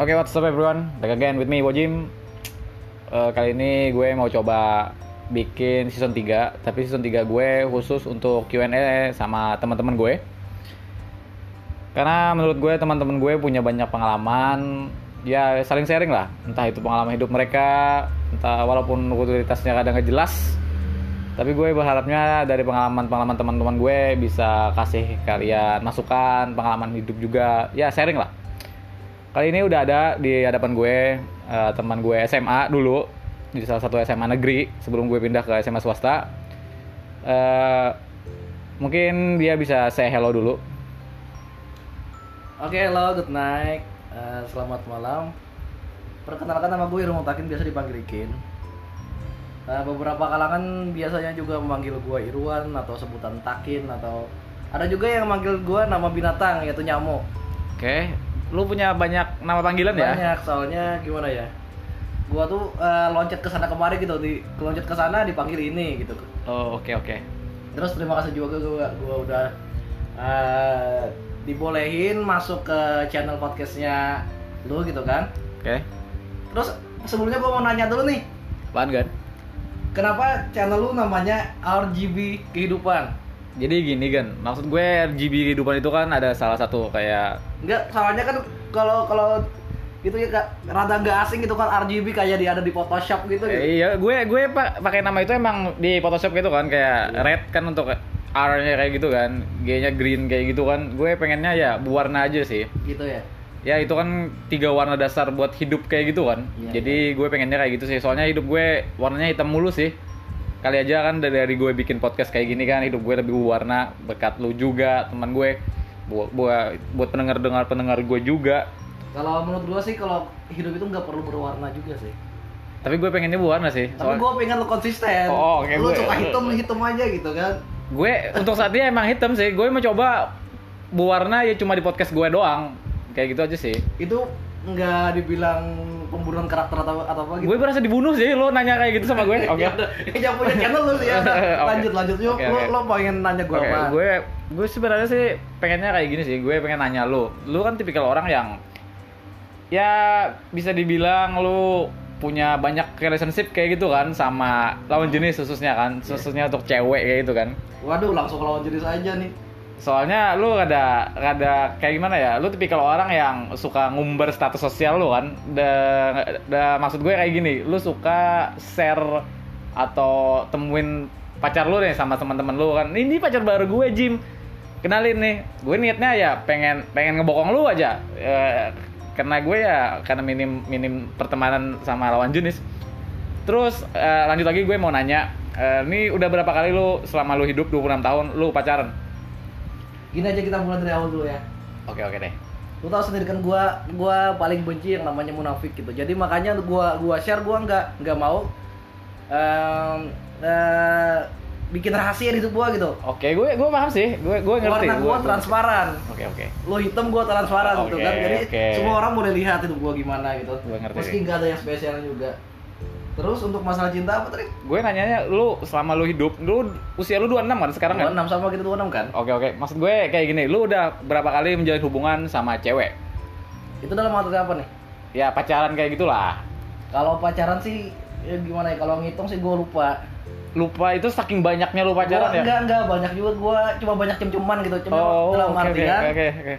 Oke, what's up everyone? Back again with me, Wojim. Eh, kali ini gue mau coba bikin season 3, tapi season 3 gue khusus untuk Q&A sama teman-teman gue. Karena menurut gue teman-teman gue punya banyak pengalaman, ya saling sharing lah. Entah itu pengalaman hidup mereka, entah walaupun utilitasnya kadang nggak jelas, tapi gue berharapnya dari pengalaman-pengalaman teman-teman gue bisa kasih kalian masukan, pengalaman hidup juga, ya sharing lah. Kali ini udah ada di hadapan gue eh, teman gue SMA dulu di salah satu SMA negeri sebelum gue pindah ke SMA swasta. Eh, mungkin dia bisa say hello dulu. Oke, hello, good night. Eh, selamat malam. Perkenalkan nama gue Irung Mutakin, biasa dipanggil Ikin. Eh, beberapa kalangan biasanya juga memanggil gue Irwan atau sebutan Takin atau ada juga yang manggil gue nama binatang yaitu nyamuk. Oke, lu punya banyak nama panggilan ya? Banyak soalnya gimana ya? Gue tuh eh, loncat ke sana kemari gitu, di loncat ke sana dipanggil ini gitu. Oh, oke oke. Terus terima kasih juga gue gue udah eh, dibolehin masuk ke channel podcastnya lu gitu kan. Oke. Terus sebelumnya gue mau nanya dulu nih, Apaan, Gan? kenapa channel lu namanya RGB Kehidupan? Jadi gini Gan, maksud gue RGB kehidupan itu kan ada salah satu kayak Enggak, soalnya kan kalau kalau itu ya Kak, rada nggak asing gitu kan RGB kayak di ada di Photoshop gitu. gitu. Eh, iya, gue gue pak pakai nama itu emang di Photoshop gitu kan kayak Iya. red kan untuk R-nya kayak gitu kan, G-nya green kayak gitu kan. Gue pengennya ya berwarna aja sih. Gitu ya. Ya itu kan tiga warna dasar buat hidup kayak gitu kan. Iya, Jadi gue pengennya kayak gitu sih. Soalnya hidup gue warnanya hitam mulu sih. Kali aja kan dari, dari gue bikin podcast kayak gini kan hidup gue lebih berwarna berkat lu juga, teman gue. Buat buat, buat pendengar-dengar pendengar gue juga. Kalau menurut gua sih kalau hidup itu nggak perlu berwarna juga sih. Iya, Tapi gue pengennya berwarna sih. Tapi Soal- gua pengen lu konsisten. Oh, oke, lu gue- suka hitam hitam aja gitu kan. gue untuk saat ini emang hitam sih gue mau coba berwarna ya cuma di podcast gue doang kayak gitu aja sih Itu nggak dibilang pembunuhan karakter atau atau apa gitu. gue berasa dibunuh sih lo nanya kayak gitu sama gue oke Ya udah, yang punya channel lu sih ya. udah. Oke. Lanjut lanjut yuk. Oke, Lu, oke. lu pengen nanya gua Oke, apa? gue gue sebenarnya sih pengennya kayak gini sih gue pengen nanya lo lo kan tipikal orang yang ya bisa dibilang lo punya banyak relationship kayak gitu kan sama lawan jenis khususnya kan Iya. khususnya untuk cewek kayak gitu kan Waduh, langsung lawan jenis aja nih. soalnya lu ada ada kayak gimana ya lu tipikal orang yang suka ngumbar status sosial lu kan da, da- maksud gue kayak gini lu suka share atau temuin pacar lu nih sama teman-teman lu kan ini pacar baru gue Jim kenalin nih gue niatnya ya pengen pengen ngebokong lu aja Eh, karena gue ya karena minim minim pertemanan sama lawan jenis Terus eh, lanjut lagi gue mau nanya, eh, ini udah berapa kali lu selama lu hidup 26 tahun lu pacaran? Gini aja kita mulai dari awal dulu ya. Oke oke deh. Lu tahu sendiri kan gua gua paling benci yang namanya munafik gitu. Jadi makanya gua gua share gua nggak nggak mau em, eh, bikin rahasia hidup gua gitu. Oke, gue gue paham sih. Gue gue ngerti. Warna gua Gue- transparan. Oke oke. Lo hitam gua transparan gitu Oke, kan. Jadi oke. semua orang boleh lihat hidup gua gimana gitu. Gua ngerti. Meski nggak ada yang spesial juga. Terus untuk masalah cinta apa tadi? Gue nanyanya lu selama lu hidup, lu usia lu 26 kan sekarang kan? 26 sama kita 26 kan? Oke oke. Maksud gue kayak gini, lu udah berapa kali menjalin hubungan sama cewek? Itu dalam arti apa nih? Ya pacaran kayak gitulah. Kalau pacaran sih ya gimana ya? Kalau ngitung sih gua lupa. Lupa itu saking banyaknya lu pacaran gua, ya? Enggak, enggak, banyak juga gua cuma banyak cem-ceman gitu. Cuma Oh, dalam oke oke artian oke, oke.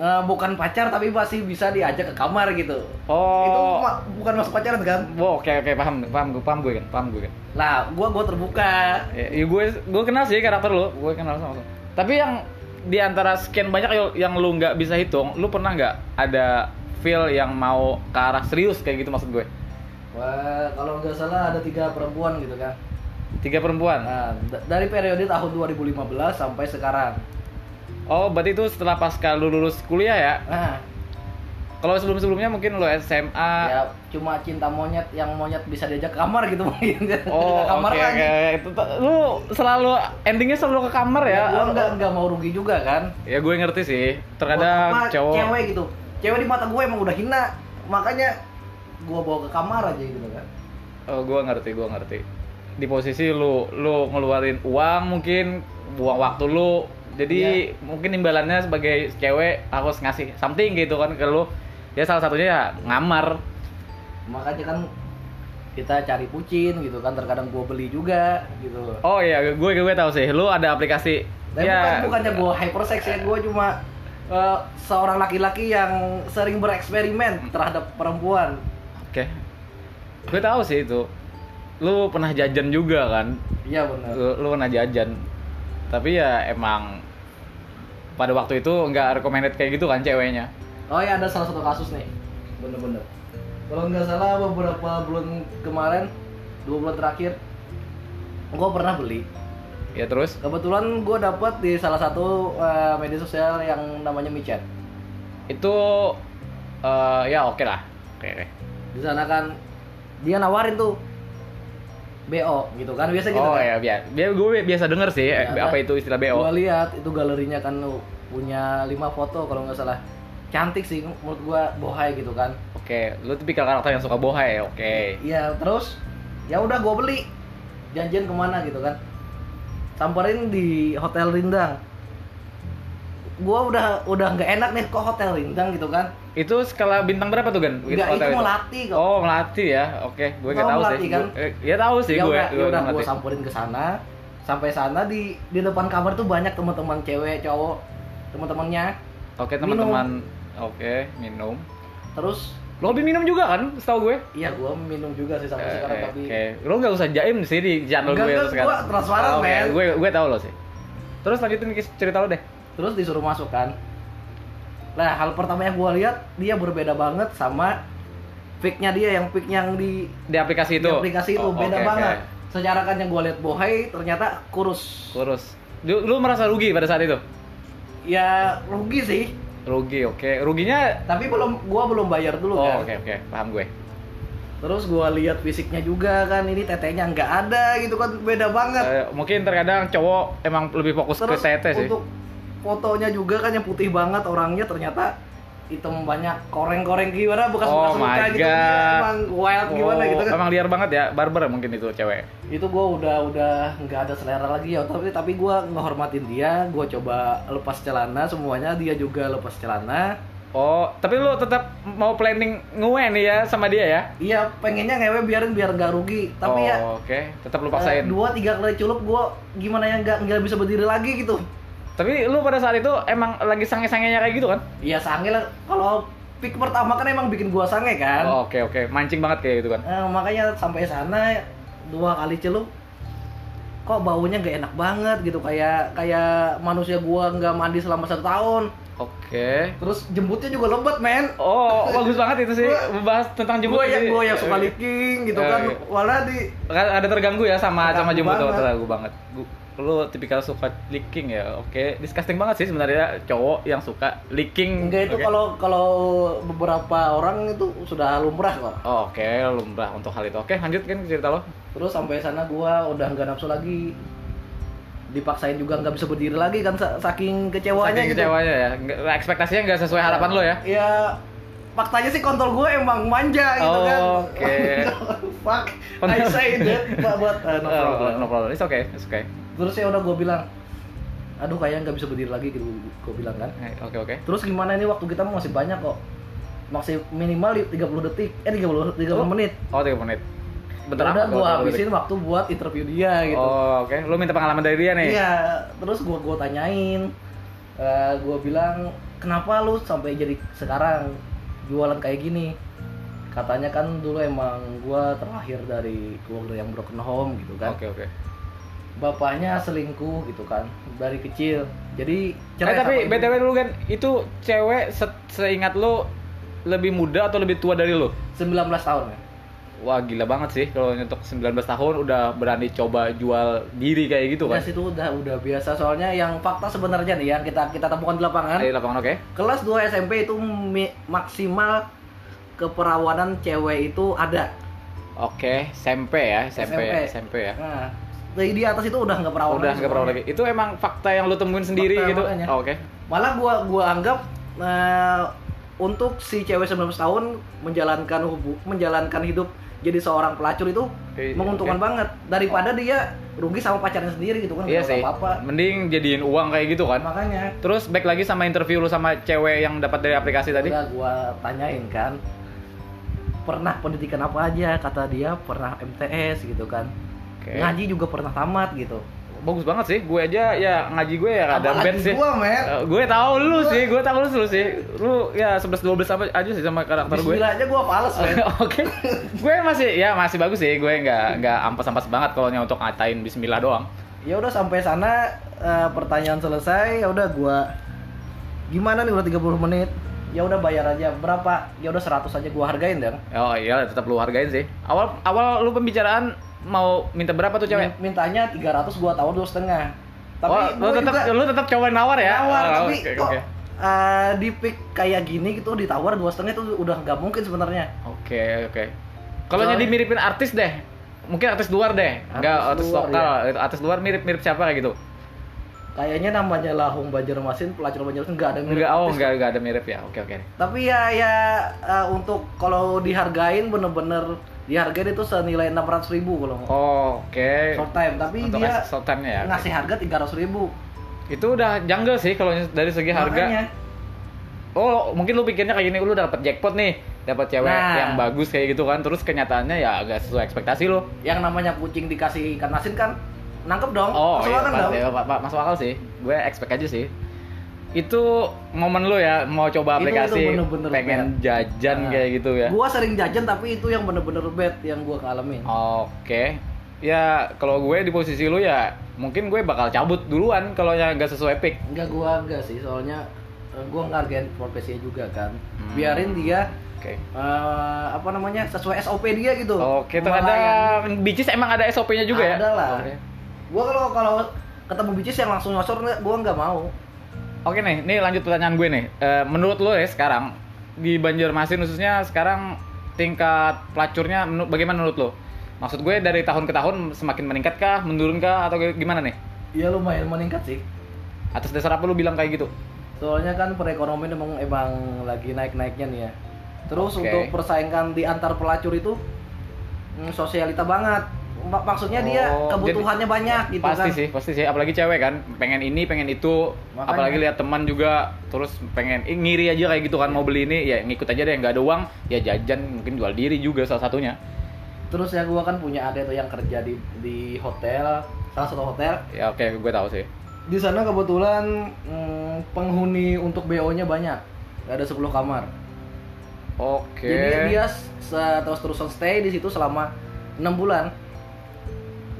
eh, bukan pacar tapi masih bisa diajak ke kamar gitu. Oh. Itu ma- bukan masuk pacaran kan? Wah, oke oke paham paham gue paham gue kan, paham gue kan. Lah, gua gua terbuka. Ya, ya gue gue kenal sih karakter lu, gue kenal sama lu. Tapi yang di antara sekian banyak yo- yang lu nggak bisa hitung, lu pernah nggak ada feel yang mau ke arah serius kayak gitu maksud gue? Wah, kalau nggak salah ada tiga perempuan gitu kan. Tiga perempuan. Nah, d- dari periode tahun 2015 sampai sekarang. Oh, berarti itu setelah pasca lu lulus kuliah ya? Nah, Kalau sebelum-sebelumnya mungkin lu SMA. ya cuma cinta monyet yang monyet bisa diajak ke kamar gitu mungkin. Oh, Ke oke kamar oke. lagi. Itu tuh- Lu selalu endingnya selalu ke kamar ya? Iya, Gua nggak nggak mau rugi juga kan. Ya gue ngerti sih. Buat Terkadang apa cowok cewek gitu cewek di mata gue emang udah hina makanya gue bawa ke kamar aja gitu kan Oh, gue ngerti, gue ngerti. Di posisi lu lu ngeluarin uang mungkin buang waktu Iya. lu. Jadi mungkin imbalannya sebagai cewek harus ngasih something gitu kan ke lu. ya salah satunya ya ngamar makanya kan kita cari pucin gitu kan terkadang gua beli juga gitu oh iya gue gue tahu sih lu ada aplikasi Dan ya bukan bukannya gua hypersex ya gua cuma eh, seorang laki-laki yang sering Hmm. bereksperimen terhadap perempuan oke gue tahu sih itu lu pernah jajan juga kan iya benar lu, lu pernah jajan tapi ya emang pada waktu itu nggak recommended kayak gitu kan ceweknya oh ya ada salah satu kasus nih bener-bener kalau nggak salah beberapa bulan kemarin dua bulan terakhir gua pernah beli ya terus kebetulan gua dapet di salah satu eh, media sosial yang namanya micet itu eh, ya oke lah oke oke. di sana kan dia nawarin tuh bo gitu kan biasa gitu oh kan ya biasa gue biasa denger sih eh, Ya, apa itu istilah bo gua lihat itu galerinya kan lu punya lima foto kalau nggak salah cantik sih menurut gua bohai gitu kan Oke, lu tipikal karakter yang suka bohai, oke. Iya terus ya udah gua beli janjian kemana gitu kan samperin di hotel Rindang gua udah udah nggak enak nih kok hotel Rindang gitu kan Itu skala bintang berapa tuh, Gan? nggak itu Hotel melatih kok Oh, melati ya. Oke, gue gak Mau tahu melatih, sih. kan? Gua- eh, ya tahu sih ya gue. udah ya gue udah gue melatih. samperin ke sana sampai sana di di depan kamar tuh banyak teman-teman cewek cowok teman-temannya Oke, teman-teman. Oke, minum. terus Lo hobi minum juga kan, setahu gue? iya gue minum juga sih sampai Eh, sekarang eh, tapi Oke, lo gak usah jaim sih di channel Enggak, gue enggak, terus sekarang. Oh, gua transparan, Oke, men. Gue gue tahu lo sih. Terus lanjutin ke cerita lo deh. terus disuruh masuk kan nah hal pertama yang gue lihat dia berbeda banget sama pic-nya dia yang pic yang di, Di aplikasi itu. di aplikasi itu Oh, beda oke, oke. banget secara kan yang gue lihat bohai ternyata kurus Kurus. Lu, lu merasa rugi pada saat itu? ya rugi sih Rugi, oke. Ruginya tapi belum gua belum bayar dulu Oh, kan oke oke, paham gue. Terus gua lihat fisiknya juga kan, ini tetenya nggak ada gitu kan, beda banget. Eh, mungkin terkadang cowok emang lebih fokus Terus Eh, ke tete sih. untuk fotonya juga kan yang putih banget orangnya ternyata hitam banyak koreng-koreng gimana bekas bekas Oh luka my gitu Dia God. emang wild gimana Oh, gitu kan Emang liar banget ya, barber mungkin itu cewek. itu gua udah udah nggak ada selera lagi ya tapi tapi gua ngehormatin dia gua coba lepas celana semuanya dia juga lepas celana Oh, tapi lu tetap mau planning ngewe nih ya sama dia ya? iya pengennya ngewe biarin biar nggak rugi oh, tapi ya oke, tetap lu eh, paksain. dua tiga kali culup gua gimana ya nggak nggak bisa berdiri lagi gitu tapi lu pada saat itu emang lagi sange-sangenya kayak gitu kan? Iya sange lah. Kalau pick pertama kan emang bikin gua sange kan. Oh, oke oke, mancing banget kayak gitu kan. Eh, makanya sampai sana dua kali celup kok baunya nggak enak banget gitu kayak kayak manusia gua nggak mandi selama satu tahun. Oke. Terus jembutnya juga lembut men. Oh, bagus banget itu sih membahas tentang jemput. Gua yang sih. gua yang suka Eh, licking gitu Eh, kan. eh. Walau di Ra- ada terganggu ya sama sama Terganggu jemput tuh banget. terganggu banget. Gu- Lu tipikal suka licking ya, oke. Disgusting banget sih sebenarnya cowok yang suka licking. enggak itu Oke. kalau kalau beberapa orang itu sudah lumrah kok. Oh, Oke, lumrah untuk hal itu. Oke, lanjutkan cerita lo. Terus sampai sana gua udah nggak nafsu lagi. Dipaksain juga nggak bisa berdiri lagi kan sa- saking kecewanya Saking gitu. Iya. kecewanya ya. Nggak- ekspektasinya nggak sesuai harapan lo ya. ya faktanya sih kontol gue emang manja gitu kan Oke. fuck I say that but, but uh, no problem. Eh, no problem. It's okay, it's okay. terus ya udah gue bilang aduh kayaknya nggak bisa berdiri lagi gitu gue bilang kan Eh, Oke, oke. terus gimana ini waktu kita masih banyak kok masih minimal 30 detik eh 30 30 Oh, menit Oh, 3 menit. Bentar udah apa? gue Bentar, habisin waktu buat interview dia bentar. gitu Oh, oke. Lu minta pengalaman dari dia nih. Iya, terus gua gua tanyain. Eh, gua bilang, "Kenapa lu sampai jadi sekarang jualan kayak gini?" Katanya kan dulu emang gua terlahir dari keluarga yang broken home gitu kan. Oke, oke. Bapaknya selingkuh gitu kan dari kecil. Jadi Eh, tapi sama ibu. BTW dulu kan itu cewek se- seingat lu lebih muda atau lebih tua dari lu? 19 tahun ya. Wah, gila banget sih kalau nyetok 19 tahun udah berani coba jual diri kayak gitu Udah kan. situ udah udah biasa soalnya yang fakta sebenarnya nih yang kita kita temukan di lapangan. Dari lapangan oke. Kelas 2 SMP itu mi- maksimal keperawanan cewek itu ada. Oke, SMP ya, SMP, SMP. SMP ya. Nah, dari di atas itu udah nggak perawan. Udah nggak pernah lagi. Itu emang fakta yang lu temuin sendiri Fakta, gitu. makanya. Oh, Oke. Malah gua gua anggap eh, untuk si cewek 19 tahun menjalankan hubu menjalankan hidup jadi seorang pelacur itu Iya, menguntungkan banget daripada dia rugi sama pacarnya sendiri gitu kan Iya nggak sih. apa-apa Mending jadiin uang kayak gitu kan. makanya Terus back lagi sama interview lu sama cewek yang dapat dari aplikasi tadi. udah gua tanyain kan pernah pendidikan apa aja kata dia pernah MTS gitu kan Oke. ngaji juga pernah tamat gitu Bagus banget sih. Gue aja ya ngaji gue ya rada Apalagi bad sih. gua men Eh, gue tahu lu sih, gue tahu lu, lu sih. Lu ya 11 12 apa aja sih sama karakter gue. Bismillah aja gua pales men Oke. gue masih ya masih bagus sih. Gue nggak nggak ampas-ampas banget kalau untuk ngatain bismillah doang. ya udah sampai sana eh, pertanyaan selesai ya udah gua gimana nih udah 30 menit ya udah bayar aja berapa ya udah 100 aja gua hargain dong Oh iya tetap lu hargain sih. Awal awal lu pembicaraan mau minta berapa tuh cewek? mintanya 300 gua tawar dua setengah tapi oh, lu gua tetap juga lu tetap coba nawar ya. nawar Oh, tapi oke, kok oke. eh, di pick kayak gini gitu ditawar dua setengah itu udah nggak mungkin sebenarnya Oke, oke. Kalau Soalnya- jadi miripin artis deh. Mungkin artis luar deh. Enggak Artis artis luar, iya. lokal. Artis luar mirip-mirip siapa kayak gitu. kayaknya namanya lahong Banjarmasin pelacur Banjarmasin nggak ada yang mirip Enggak, oh artis. enggak enggak ada mirip ya. Oke, oke. tapi ya ya eh, untuk kalau dihargain bener-bener dihargain itu senilai 600 ribu kalau mau Oke. short time tapi Untuk dia short time-nya ya. oke. ngasih harga 300 ribu Itu udah jungle sih kalau dari segi Iya, harga. Oh, mungkin lu pikirnya kayak gini, lu dapat jackpot nih, dapat cewek Nah. yang bagus kayak gitu kan. Terus kenyataannya ya agak sesuai ekspektasi lu. yang namanya kucing dikasih ikan asin kan nangkep ya. dong Oh Masuk iya, akal pas, dong. ya, Pak, Pak, masuk akal sih. Gue expect aja sih. Itu momen lu ya mau coba Itu- itu aplikasi, bener-bener pengen bad. jajan Nah. kayak gitu ya. gua sering jajan tapi itu yang bener-bener bad yang gua alamin Oke. Ya kalau gue di posisi lu ya mungkin gue bakal cabut duluan kalau yang gak sesuai pick. enggak gua enggak sih soalnya eh, gua ngargain profesinya juga kan Hmm. biarin dia Oke. eh, apa namanya sesuai SOP dia gitu Oke, Melayani. terkadang bicis emang ada SOP-nya juga ya? Ada lah. Oke. gua kalau kalau ketemu bicis yang langsung nyosor nggak- gua nggak mau Oke nih, nih lanjut pertanyaan gue nih. Eh, menurut lo ya sekarang di Banjarmasin khususnya sekarang tingkat pelacurnya menu- bagaimana menurut lo? Maksud gue dari tahun ke tahun semakin meningkat kah, menurun kah, atau ge- gimana nih? ya lumayan meningkat sih Atas dasar apa lo bilang kayak gitu? Soalnya kan perekonomian emang emang lagi naik-naiknya nih ya. Terus Oke. untuk persaingan di antar pelacur itu mm, sosialita banget. Mak- Maksudnya dia Oh, kebutuhannya banyak gitu pasti kan. sih, pasti sih. Apalagi cewek kan, pengen ini, pengen itu. Makanya. Apalagi lihat teman juga, terus pengen ih, ngiri aja kayak gitu kan mau beli ini, ya ngikut aja deh. Nggak ada uang, ya jajan mungkin jual diri juga salah satunya. Terus ya gua kan punya adik tuh yang kerja di di hotel, salah satu hotel. Ya oke, gue tahu sih. Di sana kebetulan mm, penghuni untuk BO-nya banyak. Ada 10 kamar. Oke. Jadi dia se- terus-terusan stay di situ selama 6 bulan.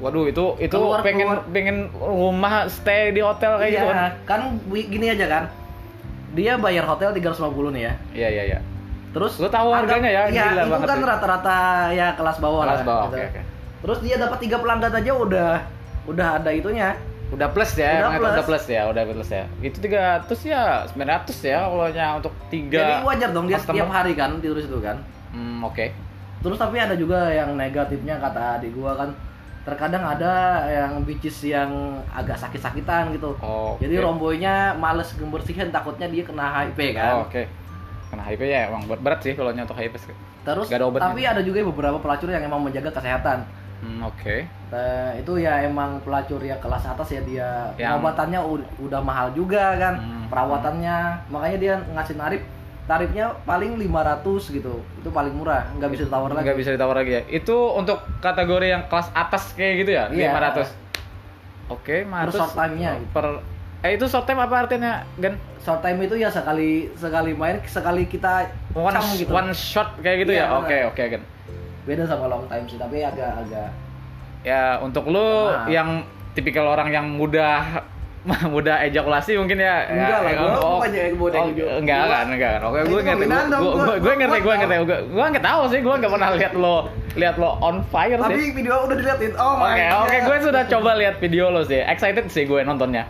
Waduh itu itu Keluar, pengen keluar. pengen rumah stay di hotel kayak gitu kan. Iya, kan gini aja kan. Dia bayar hotel 350 nih ya. Iya iya iya. Terus Lu tahu harganya ya, Iya, gila itu banget kan sih. rata-rata ya kelas bawah Kelas lah, bawah. gitu. Oke oke. Terus dia dapat tiga pelanggan aja udah udah ada itunya. Udah plus ya, Udah emang itu plus. udah plus ya, udah plus ya. Itu 300 ya, 900 ya kalau nya untuk Jadi tiga wajar dong dia customer. setiap hari kan tidur di situ kan. Hmm, oke. Terus tapi ada juga yang negatifnya kata adik gua kan terkadang ada yang bicis yang agak sakit-sakitan gitu. Oh. Jadi romboynya males gembersihin takutnya dia kena HIV kan. Oh, oke. Karena HIV ya emang berat, berat sih kalau nya untuk HIV. sih. Terus Gak ada obatnya. tapi ada juga beberapa pelacur yang emang menjaga kesehatan. Hmm, oke. Eh, itu ya emang pelacur ya kelas atas ya dia Yang- pengobatannya u- udah mahal juga kan Hmm. perawatannya makanya dia ngasih tarif tarifnya paling 500 gitu itu paling murah nggak bisa ditawar lagi Nggak bisa ditawar lagi ya. Itu untuk kategori yang kelas atas kayak gitu ya, Iya. 500. Oke, terus short 500 time nya gitu. per Eh itu short time apa artinya, Gan? short time itu ya sekali sekali main sekali kita one, cam gitu one shot kayak gitu Iya, ya benar. oke oke Gen. beda sama long time sih tapi agak agak ya untuk lu Maaf. yang tipikal orang yang mudah mudah ejakulasi mungkin ya Enggak lah, ya, gua oh, bukannya mudah oh, ejakulasi. enggak kan enggak kan oke Itu gue ngerti pembinaan dong, gue gua- gue ngerti gua gue tahu. ngerti gue gue nggak tahu sih gue nggak pernah lihat lo lihat lo on fire sih video udah diliatin oh ya? oke oke gue sudah coba lihat video lo sih excited sih gue nontonnya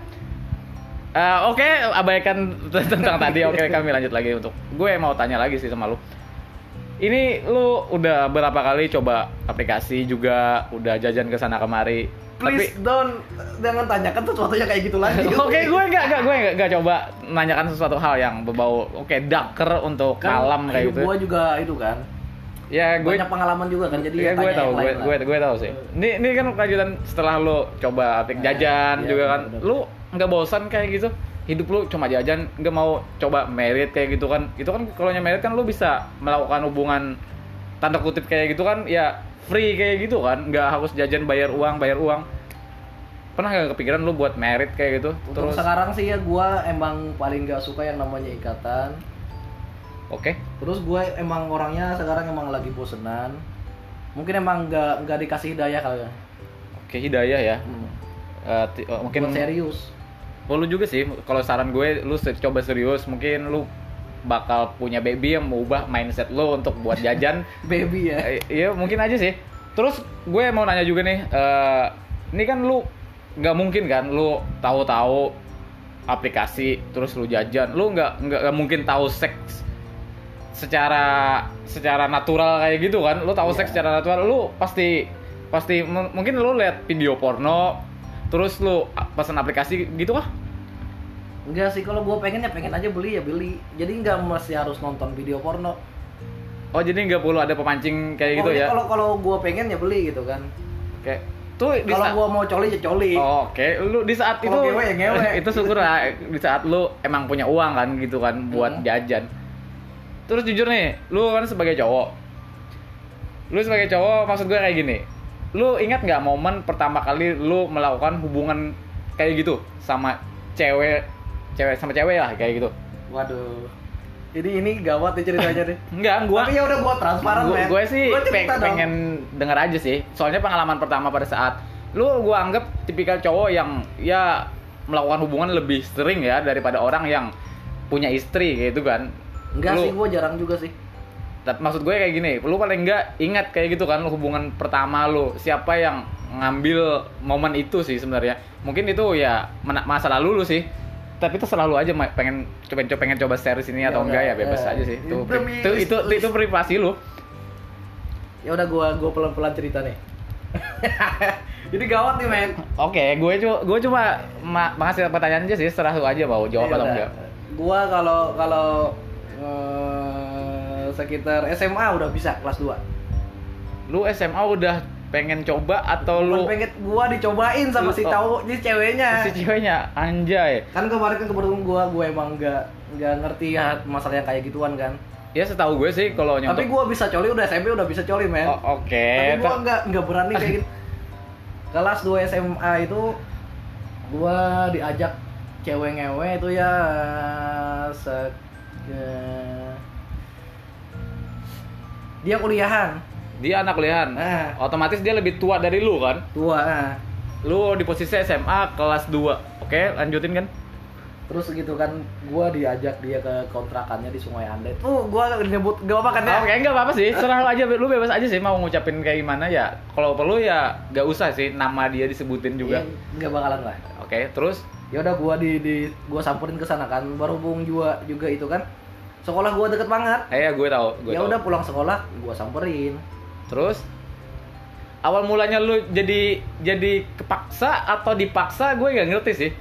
Eh, oke abaikan tentang tadi oke kami lanjut lagi untuk gue mau tanya lagi sih sama lu ini lu udah berapa kali coba aplikasi juga udah jajan ke sana kemari Tapi- please don't jangan tanyakan sesuatu yang kayak gitu lagi Oke, gue nggak nggak gue nggak- nggak coba menanyakan sesuatu hal yang berbau oke daker untuk kan malam kayak hidup gitu. gua juga itu kan ya gue banyak pengalaman juga kan jadi Iya, ya, gue tanya tahu, yang gue, lain lah. gue, gue tahu sih. Ini, ini kan kelanjutan setelah lu coba aplik Nah, jajan iya, juga kan, bener-bener. lu nggak bosan kayak gitu? Hidup lu cuma jajan, nggak mau coba merit kayak gitu kan? Itu kan kalau nya merit kan lu bisa melakukan hubungan tanda kutip kayak gitu kan, ya free kayak gitu kan, nggak harus jajan bayar uang, bayar uang. Pernah nggak kepikiran lu buat merit kayak gitu? Untuk Terus, oke, sekarang sih ya gue emang paling gak suka yang namanya ikatan. Terus gue emang orangnya sekarang emang lagi bosenan. Mungkin emang nggak nggak dikasih daya kali ya. oke hidayah ya. Hmm. Eh, ti- eh, mungkin Buat serius. Oh, lu juga sih, kalau saran gue, lu se- coba serius, mungkin lu bakal punya baby yang mengubah mindset lu untuk buat jajan. Baby ya. Eh, Iya, mungkin aja sih. Terus gue mau nanya juga nih, eh, ini kan lu nggak mungkin kan, lu tahu-tahu aplikasi terus lu jajan, lu nggak nggak nggak mungkin tahu seks secara secara natural kayak gitu kan, lu tahu Iya. seks secara natural, lu pasti pasti m- mungkin lu lihat video porno, terus lu a- pesan aplikasi gitu kah? Enggak sih kalau gue pengen ya pengen aja beli ya beli. Jadi nggak mesti harus nonton video porno. Oh jadi nggak perlu ada pemancing kayak gitu Pokoknya ya? Oh, Kalau kalau gue pengen ya beli gitu kan. Kayak tuh di Kalau saat- gue mau coli ya coli. Oh, Oke, lu di saat itu Kalau ngewe ya ngewe. itu syukur lah di saat lu emang punya uang kan gitu kan buat Hmm. jajan. Terus jujur nih, lu kan sebagai cowok, lu sebagai cowok maksud gue kayak gini, lu ingat nggak momen pertama kali lu melakukan hubungan kayak gitu sama cewek cewek sama cewek lah kayak gitu? Waduh. Ini ini gawat nih ceritanya deh. Enggak, gua Tapi ya udah gue transparan Gu- men. gue sih Lu cerita peng- dong. pengen denger aja sih soalnya pengalaman pertama pada saat lu gue anggap tipikal cowok yang ya melakukan hubungan lebih sering ya daripada orang yang punya istri gitu kan Enggak Lu- sih gue jarang juga sih. tapi maksud gue kayak gini lu paling enggak ingat kayak gitu kan hubungan pertama lu siapa yang ngambil momen itu sih sebenarnya mungkin itu ya mena- masa lalu lu sih tapi itu selalu aja Ma. pengen coba coba pengen coba share sini Ya atau enggak ya udah, bebas ya. aja sih itu Demi- itu itu, itu privasi lu Ya udah gua gua pelan-pelan cerita nih. Jadi gawat nih men. Oke, gue cuma gue cuma ma- mengasih pertanyaan aja sih, serah lu aja mau jawab Ya atau udah. enggak. Gua kalau kalau eh, sekitar SMA udah bisa kelas 2. Lu SMA udah pengen coba atau Oh, lu pengen gua dicobain sama Lu- si oh. tahu si si ceweknya. ceweknya anjay. Kan kemarin kan kebetulan gua gua emang nggak nggak ngerti ya masalah yang kayak gituan kan. Ya setahu gue sih kalau Tapi nyontok. gua bisa coli udah SMP udah bisa coli men. Oh, Oke. Tapi gua Ta- nggak nggak berani kayak gitu. Kelas 2 SMA itu gua diajak cewek ngewe itu ya se ke- dia kuliahan. Dia anak kuliahan. Ah. Otomatis dia lebih tua dari lu kan. Tua. ah. Lu di posisi SMA kelas 2. Oke, lanjutin kan. Terus gitu kan gua diajak dia ke kontrakannya di Sungai Andet. Tuh gua nyebut gak apa kan ya? Oke, enggak apa-apa sih. Serah lu aja, lu bebas aja sih mau ngucapin kayak gimana ya. Kalau perlu ya nggak usah sih nama dia disebutin juga. Iya, nggak bakalan lah. Oke, terus ya udah gua di di gua samperin ke sana kan berhubung juga juga itu kan sekolah gua deket banget eh ya gue tahu, gue ya tahu. udah pulang sekolah gua samperin Terus awal mulanya lu jadi jadi kepaksa atau dipaksa gue nggak ngerti sih.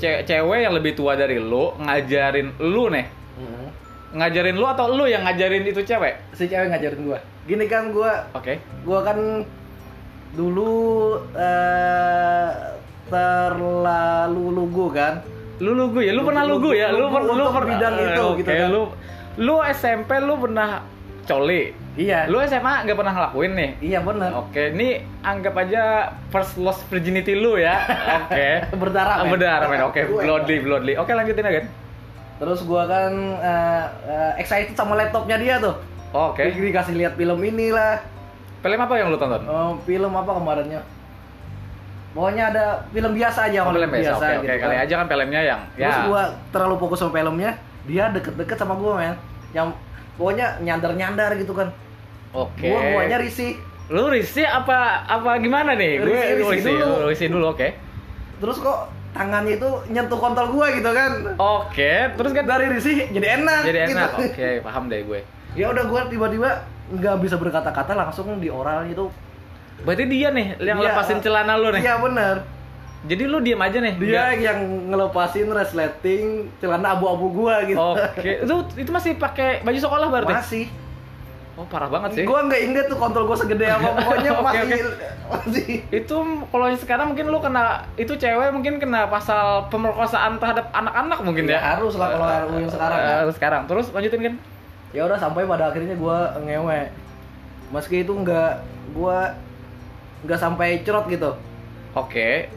Ce- cewek yang lebih tua dari lu ngajarin lu nih. Hmm. Ngajarin lu atau lu yang ngajarin itu cewek? si cewek ngajarin gua gini kan gua Oke. gua kan dulu eh, terlalu lugu kan Lu lugu ya, lu pernah lugu ya, lu Lugu per- lu untuk pernah bidang eh, itu, oke, gitu kan. Lu lu SMP lu pernah coli. Eh, iya Lu SMA nggak pernah ngelakuin nih. iya bener Oke, ini anggap aja first lost virginity lu ya. Oke. berdarah men. Benar, men. Oke, Gua- bloodly, bloodly. Oke, lanjutin aja. terus gua kan eh, eh, excited sama laptopnya dia tuh Oke. Di- dikasih lihat film inilah Film apa yang lu tonton? Eh, film apa kemarinnya? Pokoknya ada film biasa aja Oh, kalau film biasa. Oke, oke. gitu kan. Kali aja kan filmnya yang ya. Terus gua terlalu fokus sama filmnya, dia deket-deket sama gua, men. Yang pokoknya nyandar-nyandar gitu kan. Oke. Gua guanya risih. Lu risih apa apa gimana nih? Gue Risih, risih risih dulu. Lu risih dulu, oke. Terus kok tangannya itu nyentuh kontol gua gitu kan. Oke, terus kan dari risih jadi enak jadi gitu. enak. Oke, paham deh gue. Ya udah gua tiba-tiba nggak bisa berkata-kata langsung di oralnya itu. Berarti dia nih yang Iya, lepasin celana lu nih. Iya benar. Jadi lu diam aja nih. Dia gitu. yang ngelepasin resleting celana abu-abu gua Nggak- gitu. Oke, itu itu masih pakai baju sekolah berarti. Masih. Oh parah banget sih. Gua nggak inget tuh kontol gua segede apa pokoknya Oke, masih oke. masih Itu kalau sekarang mungkin lu kena itu cewek mungkin kena pasal pemerkosaan terhadap anak-anak mungkin Ya, ya. harus lah kalau RU yang sekarang, ya. Harus sekarang. Terus lanjutin kan. ya udah sampai pada akhirnya gua ngewe. Meski itu nggak gua nggak sampai cerot gitu. Oke.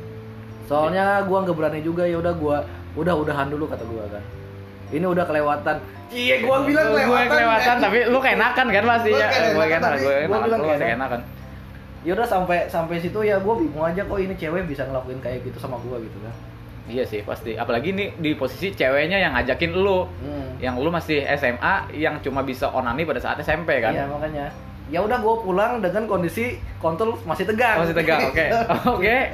Soalnya gua nggak berani juga ya udah gua udah udahan dulu kata gua kan. Ini udah kelewatan. Iya, gua bilang Lu- gua kelewatan. kelewatan kan. tapi lu keenakan kan pastinya. Gua keenakan, Gua keenakan, tapi gua gua keenakan. bilang Lu masih keenakan. keenakan. Ya udah sampai sampai situ ya gua bingung aja kok ini cewek bisa ngelakuin kayak gitu sama gua gitu kan. Iya sih pasti. Apalagi nih di posisi ceweknya yang ngajakin lu, Hmm. yang lu masih SMA yang cuma bisa onani pada saat SMP kan. Iya makanya. Ya udah gue pulang dengan kondisi kontol masih tegang. Oh, Masih tegang, oke. Oke.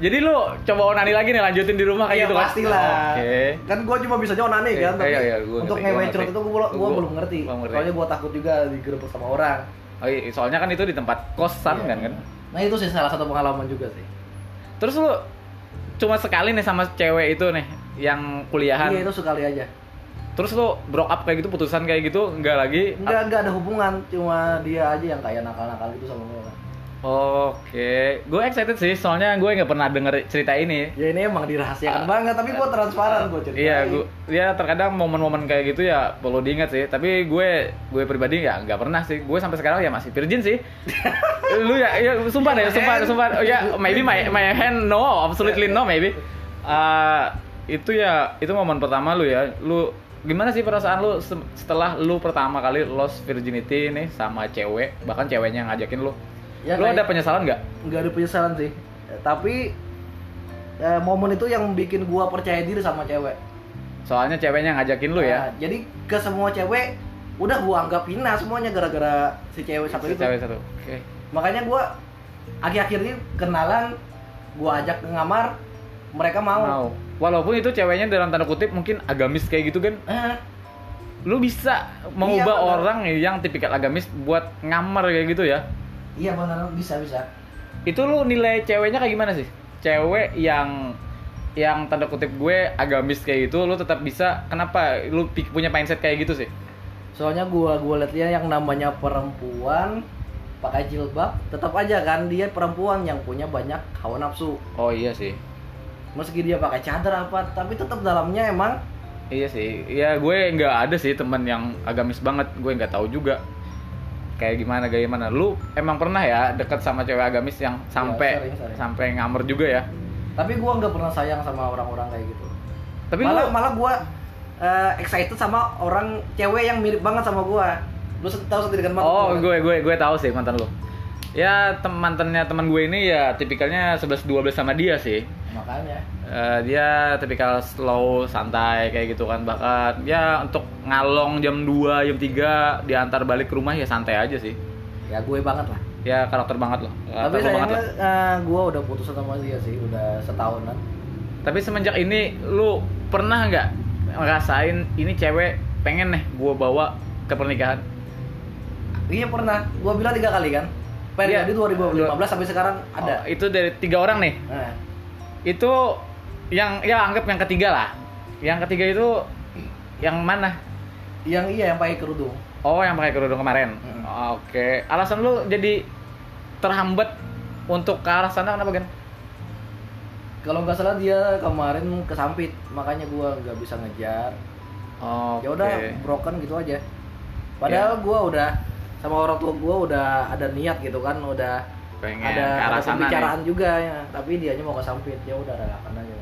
Jadi lu coba onani lagi nih lanjutin di rumah kayak Iya gitu kan? pastilah. Oke. Kan gue cuma bisa onani Iya, kan. Tapi iya, iya, gua ngerti, untuk gua ngewe ngerti. cerut itu gue Gua- belum ngerti. gua ngerti. Soalnya gue takut juga digerebek sama orang. Oh, iya, soalnya kan itu di tempat kosan Iya. kan kan. Nah itu sih salah satu pengalaman juga sih. Terus lu cuma sekali nih sama cewek itu nih yang kuliahan. Iya itu sekali aja. Terus lu broke up kayak gitu, putusan kayak gitu, enggak lagi. Enggak enggak ada hubungan, cuma dia aja yang kayak nakal-nakal gitu sama gue. Oke, gue excited sih, soalnya gue nggak pernah denger cerita ini. Ya ini emang dirahasiakan banget, tapi gue transparan gue ceritain. Ah, Iya, gue, ya terkadang momen-momen kayak gitu ya perlu diingat sih. Tapi gue, gue pribadi ya nggak pernah sih. Gue sampai sekarang ya masih virgin sih. Lu ya, ya sumpah deh, sumpah, sumpah. Oh, ya, maybe my my hand no, absolutely no maybe. Ah, itu ya, itu momen pertama lu ya. Lu gimana sih perasaan lu se- setelah lu pertama kali lost virginity nih sama cewek, bahkan ceweknya ngajakin lu? Ya, lu kayak- ada penyesalan nggak? nggak ada penyesalan sih Eh, tapi eh, momen itu yang bikin gua percaya diri sama cewek Soalnya ceweknya ngajakin lu ya. Nah, jadi ke semua cewek udah gua anggap hina semuanya gara-gara si cewek satu Si itu cewek satu. Oke. makanya gua akhir-akhir ini kenalan gua ajak ke ngamar mereka mau, Mau. Walaupun itu ceweknya dalam tanda kutip mungkin agamis kayak gitu kan. Eh, Lu bisa mengubah benar. orang yang tipikal agamis buat ngamar kayak gitu ya. iya benar bisa bisa Itu lu nilai ceweknya kayak gimana sih? Cewek yang yang tanda kutip gue agamis kayak gitu lu tetap bisa kenapa lu pi- punya mindset kayak gitu sih? soalnya gua gua liat dia yang namanya perempuan pakai jilbab tetap aja kan dia perempuan yang punya banyak hawa nafsu Oh iya sih. meski dia pakai cadar apa tapi tetap dalamnya emang Iya sih, ya gue nggak ada sih teman yang agamis banget, gue nggak tahu juga kayak gimana kayak gimana. Lu emang pernah ya deket sama cewek agamis yang sampai Iya, sering, sering. sampai ngamer juga ya? tapi gua nggak pernah sayang sama orang-orang kayak gitu Tapi lu malah malah gue excited sama orang cewek yang mirip banget sama gua lu se- tahu sendiri kan mantan oh gua kan? gue gue gue tahu sih mantan lu. Ya tem mantannya teman gue ini ya tipikalnya 11 12 sama dia sih. makanya Eh, dia tipikal slow santai kayak gitu kan bahkan ya untuk ngalong jam 2 jam 3 diantar balik ke rumah ya santai aja sih. ya gue banget lah Ya karakter banget loh. tapi Karakter Ah, banget sayangnya lah. eh, gua udah putus sama dia sih udah setahunan Tapi semenjak ini lu pernah nggak ngerasain ini cewek pengen nih gua bawa ke pernikahan? iya pernah gua bilang tiga kali kan periode Iya. 2015 sampai sekarang Oh, ada itu dari tiga orang nih. nah, Itu yang ya anggap yang ketiga lah. Yang ketiga itu yang mana? yang iya yang pakai kerudung Oh, yang pakai kerudung kemarin. Mm-mm. Oke. Alasan lu jadi terhambat untuk ke arah sana kenapa kan? kalau nggak salah dia kemarin kesampit makanya gua nggak bisa ngejar Oh. ya udah broken gitu aja Iya. padahal gua udah sama orang tua gua udah ada niat gitu kan udah pengen ke ada, arah ada sana. nih. pembicaraan juga ya tapi dianya mau kesampit ya udah relakan aja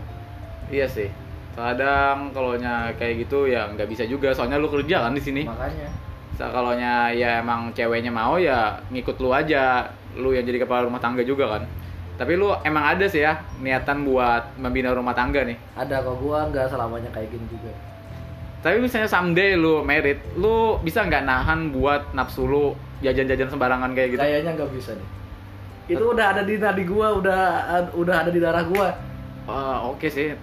Iya sih. Kadang kalau kayak gitu ya nggak bisa juga soalnya lu kerja kan di sini. makanya Sekalonya ya emang ceweknya mau ya ngikut lu aja Lu yang jadi kepala rumah tangga juga kan Tapi lu emang ada sih ya niatan buat membina rumah tangga nih ada kok gua nggak selamanya kayak gini juga Tapi misalnya someday lu merit Lu bisa nggak nahan buat nafsu lu jajan-jajan sembarangan kayak gitu kayaknya nggak bisa nih itu udah ada di nadi gua udah udah ada di darah gua Wah, Oke sih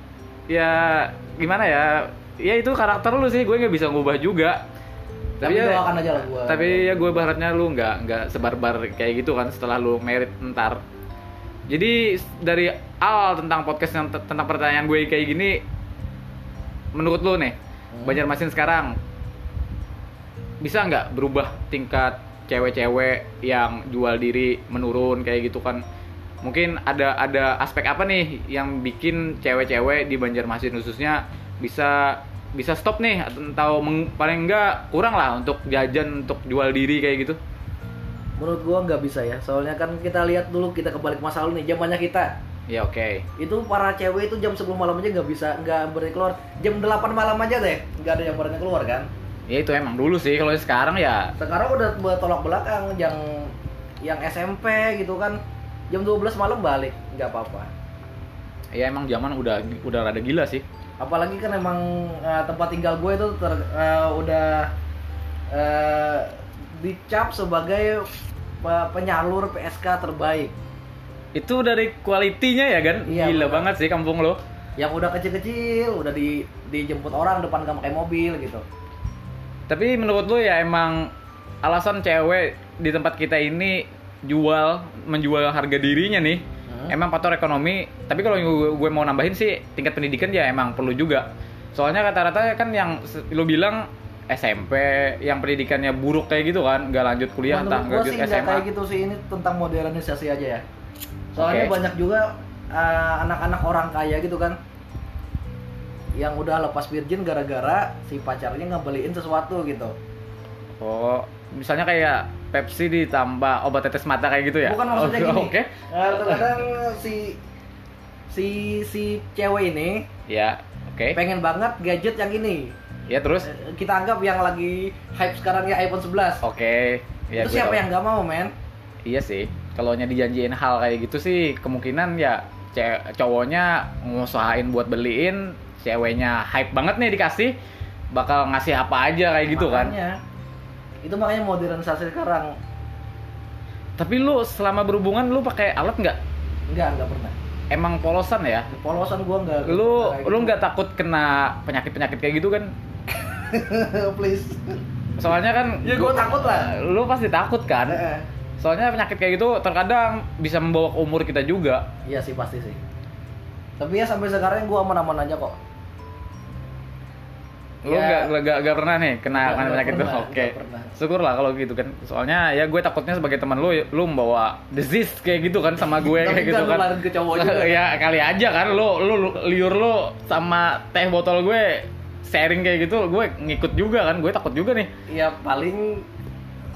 Ya gimana ya Ya itu karakter lu sih gue nggak bisa ngubah juga ya tapi, ya, doakan aja lah gua tapi ya gue berharapnya lu nggak nggak sebarbar kayak gitu kan setelah lu merit ntar jadi s- dari awal tentang podcast yang te- tentang pertanyaan gue kayak gini menurut lu nih Hmm. Banjarmasin sekarang bisa nggak berubah tingkat cewek-cewek yang jual diri menurun kayak gitu kan mungkin ada ada aspek apa nih yang bikin cewek-cewek di Banjarmasin khususnya bisa bisa stop nih atau meng- paling enggak kurang lah untuk jajan untuk jual diri kayak gitu Menurut gua nggak bisa ya. Soalnya kan kita lihat dulu kita kebalik masa lalu nih zamannya kita. ya oke Itu para cewek itu jam 10 malam aja nggak bisa nggak berani keluar. Jam 8 malam aja deh nggak ada yang berani keluar kan. ya itu emang dulu sih kalau sekarang ya Sekarang udah bertolak belakang yang yang SMP gitu kan jam 12 malam balik nggak apa-apa. ya emang zaman udah udah rada gila sih apalagi kan emang eh, tempat tinggal gue itu ter, eh, udah eh, dicap sebagai pe- penyalur PSK terbaik itu dari kualitinya ya kan Iya, gila benar. banget sih kampung lo yang udah kecil-kecil udah di dijemput orang depan gak pakai mobil gitu tapi menurut lo ya emang alasan cewek di tempat kita ini jual menjual harga dirinya nih Hmm. emang faktor ekonomi tapi kalau gue, gue mau nambahin sih tingkat pendidikan ya emang perlu juga soalnya rata-rata kan yang se- lo bilang SMP yang pendidikannya buruk kayak gitu kan nggak lanjut kuliah entah nggak menurut gue lanjut sih nggak SMA kayak gitu sih ini tentang modernisasi aja ya soalnya Oke. banyak juga eh, anak-anak orang kaya gitu kan yang udah lepas virgin gara-gara si pacarnya ngebeliin sesuatu gitu oh misalnya kayak Pepsi ditambah obat tetes mata kayak gitu ya Bukan maksudnya Oh, gini. oke Nah, kadang-kadang si si si cewek ini ya oke pengen banget gadget yang ini. ya terus Eh, Kita anggap yang lagi hype sekarang ya iPhone 11. oke ya gue Itu siapa tahu. yang nggak mau, men? Iya sih, kalau nya dijanjiin hal kayak gitu sih kemungkinan ya ce- cowoknya ngusahain buat beliin, ceweknya hype banget nih dikasih, bakal ngasih apa aja kayak gitu kan. Makanya, Itu makanya modernisasi sekarang Tapi lu selama berhubungan lu pakai alat nggak? nggak nggak pernah. Emang polosan ya? Polosan gua nggak. Lu kayak lu gitu. nggak takut kena penyakit-penyakit kayak gitu kan? gitu. please. Soalnya kan Ya gua takut lah. Lu pasti takut kan? Eh, eh. Soalnya penyakit kayak gitu terkadang bisa membawa ke umur kita juga. Iya sih pasti sih. Tapi ya sampai sekarang gua aman-aman aja kok. Lu Ya. nggak nggak nggak pernah nih kena Nggak- kena nggak penyakit itu? pernah, Oke. nggak pernah. Syukurlah kalau gitu kan. Soalnya ya gue takutnya sebagai teman lu lu membawa disease kayak gitu kan sama gue Tapi kayak gitu nggak kan. nularin ke cowok juga. ya kali aja kan lu, lu lu- liur lu sama teh botol gue sharing kayak gitu gue ngikut juga kan gue takut juga nih Ya paling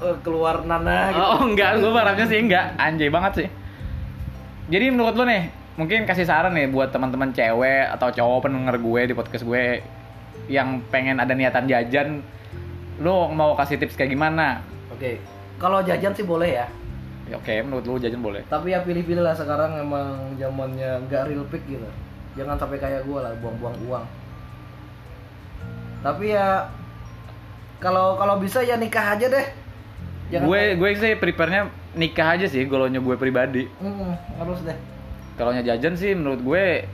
eh, keluar nana gitu. oh enggak gue harapnya sih enggak anjay banget sih jadi menurut lu nih mungkin kasih saran nih buat teman-teman cewek atau cowok pendengar gue di podcast gue yang pengen ada niatan jajan lu mau kasih tips kayak gimana Oke, kalau jajan sih boleh ya, Ya, Oke, menurut lu jajan boleh. tapi ya pilih-pilih lah sekarang emang zamannya nggak real pick gitu. Jangan sampai kayak gue lah buang-buang uang. Tapi ya kalau kalau bisa ya nikah aja deh. gue gue sih prepare-nya nikah aja sih golonnya gue pribadi. Mm, harus deh. Kalaunya jajan sih menurut gue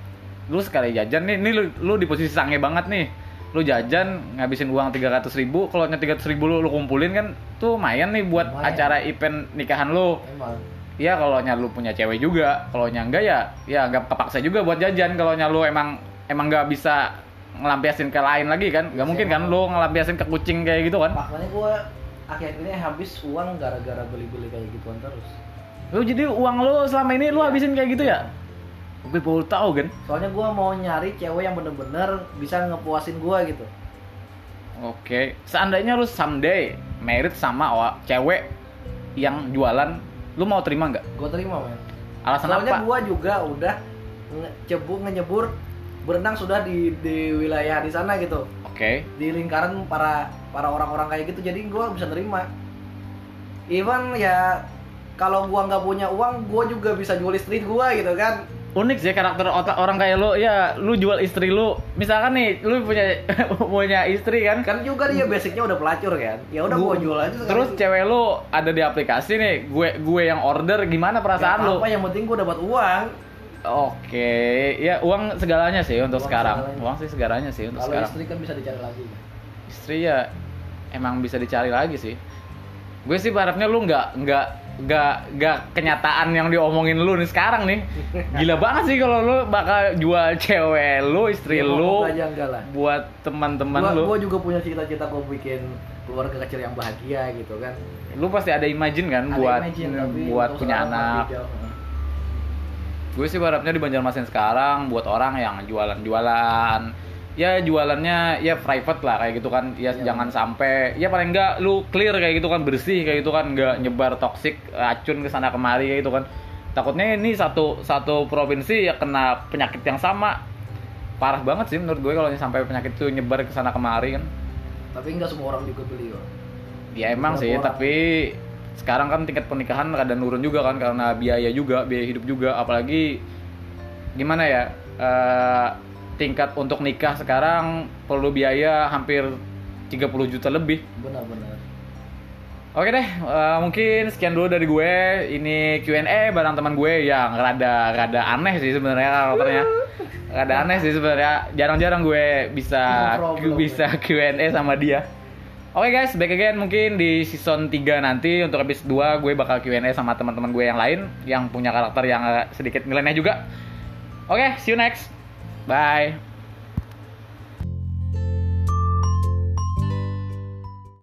lu sekali jajan nih, nih lu, lu di posisi sange banget nih. Lu jajan ngabisin uang 300 ribu, kalau nya 300 ribu lu, lu kumpulin kan tuh lumayan nih buat Lumayan. acara event nikahan lu. Emang. Iya kalau nya lu punya cewek juga, kalau nya enggak ya ya nggak kepaksa juga buat jajan kalau nya lu emang emang nggak bisa ngelampiasin ke lain lagi kan nggak Iya sih, mungkin kan emang. lu ngelampiasin ke kucing kayak gitu kan Makanya gue akhir-akhir ini habis uang gara-gara beli-beli kayak gituan terus. lu jadi uang lu selama ini lu habisin kayak gitu ya gue baru tahu kan Soalnya gue mau nyari cewek yang bener-bener bisa ngepuasin gue gitu. Oke, seandainya lu someday married sama wa- cewek yang jualan, lu mau terima nggak? Gue terima men. Alasan apa? Soalnya gua juga udah nge- cebu nyebur berenang sudah di di wilayah di sana gitu Oke, di lingkaran para para orang-orang kayak gitu jadi gua bisa nerima even ya kalau gua nggak punya uang gua juga bisa jual istri gua gitu kan unik sih karakter otak orang kayak lu. Ya, lu jual istri lu. Misalkan nih, lu punya punya istri kan? kan juga dia basicnya udah pelacur kan ya udah Gua- gua jual aja Terus cewek lu ada di aplikasi nih, gue gue yang order, gimana perasaan lu? apa yang penting gua dapat uang Oke, ya uang segalanya sih untuk Uang sekarang. segalanya. Uang sih segalanya sih untuk kalau sekarang. istri kan bisa dicari lagi istri ya emang bisa dicari lagi sih Gue sih berharapnya lu nggak nggak nggak nggak kenyataan yang diomongin lu nih sekarang nih. Gila banget sih kalau lu bakal jual cewek lu, istri Ya, lu moga-moga aja enggak lah. buat teman-teman Gua, lu. gua juga punya cita-cita gua bikin keluarga kecil yang bahagia gitu kan. Lu pasti ada imagine kan Ada buat imagine, tapi buat untuk punya sekarang masih anak. jauh. Gue sih berharapnya di Banjarmasin sekarang buat orang yang jualan-jualan ya jualannya ya private lah kayak gitu kan ya Iya. jangan sampai ya paling enggak lu clear kayak gitu kan bersih kayak gitu kan nggak nyebar toksik racun ke sana kemari kayak gitu kan takutnya ini satu satu provinsi ya kena penyakit yang sama parah banget sih menurut gue kalau sampai penyakit itu nyebar ke sana kemari kan Tapi enggak semua orang juga beli kok. Ya emang sih, Berapa orang? tapi sekarang kan tingkat pernikahan rada nurun juga kan karena biaya juga, biaya hidup juga, apalagi gimana ya? eh, tingkat untuk nikah sekarang perlu biaya hampir 30 juta lebih. Benar-benar. Oke deh, eh, mungkin sekian dulu dari gue. Ini Q&A bareng teman gue yang rada rada aneh sih sebenarnya karakternya. Rada aneh sih sebenarnya. Jarang-jarang gue bisa No problem. bisa Q&A sama dia. Oke guys, back again mungkin di season 3 nanti untuk episode 2 gue bakal Q&A sama teman-teman gue yang lain yang punya karakter yang eh, sedikit nyeleneh juga. Oke, see you next. Bye.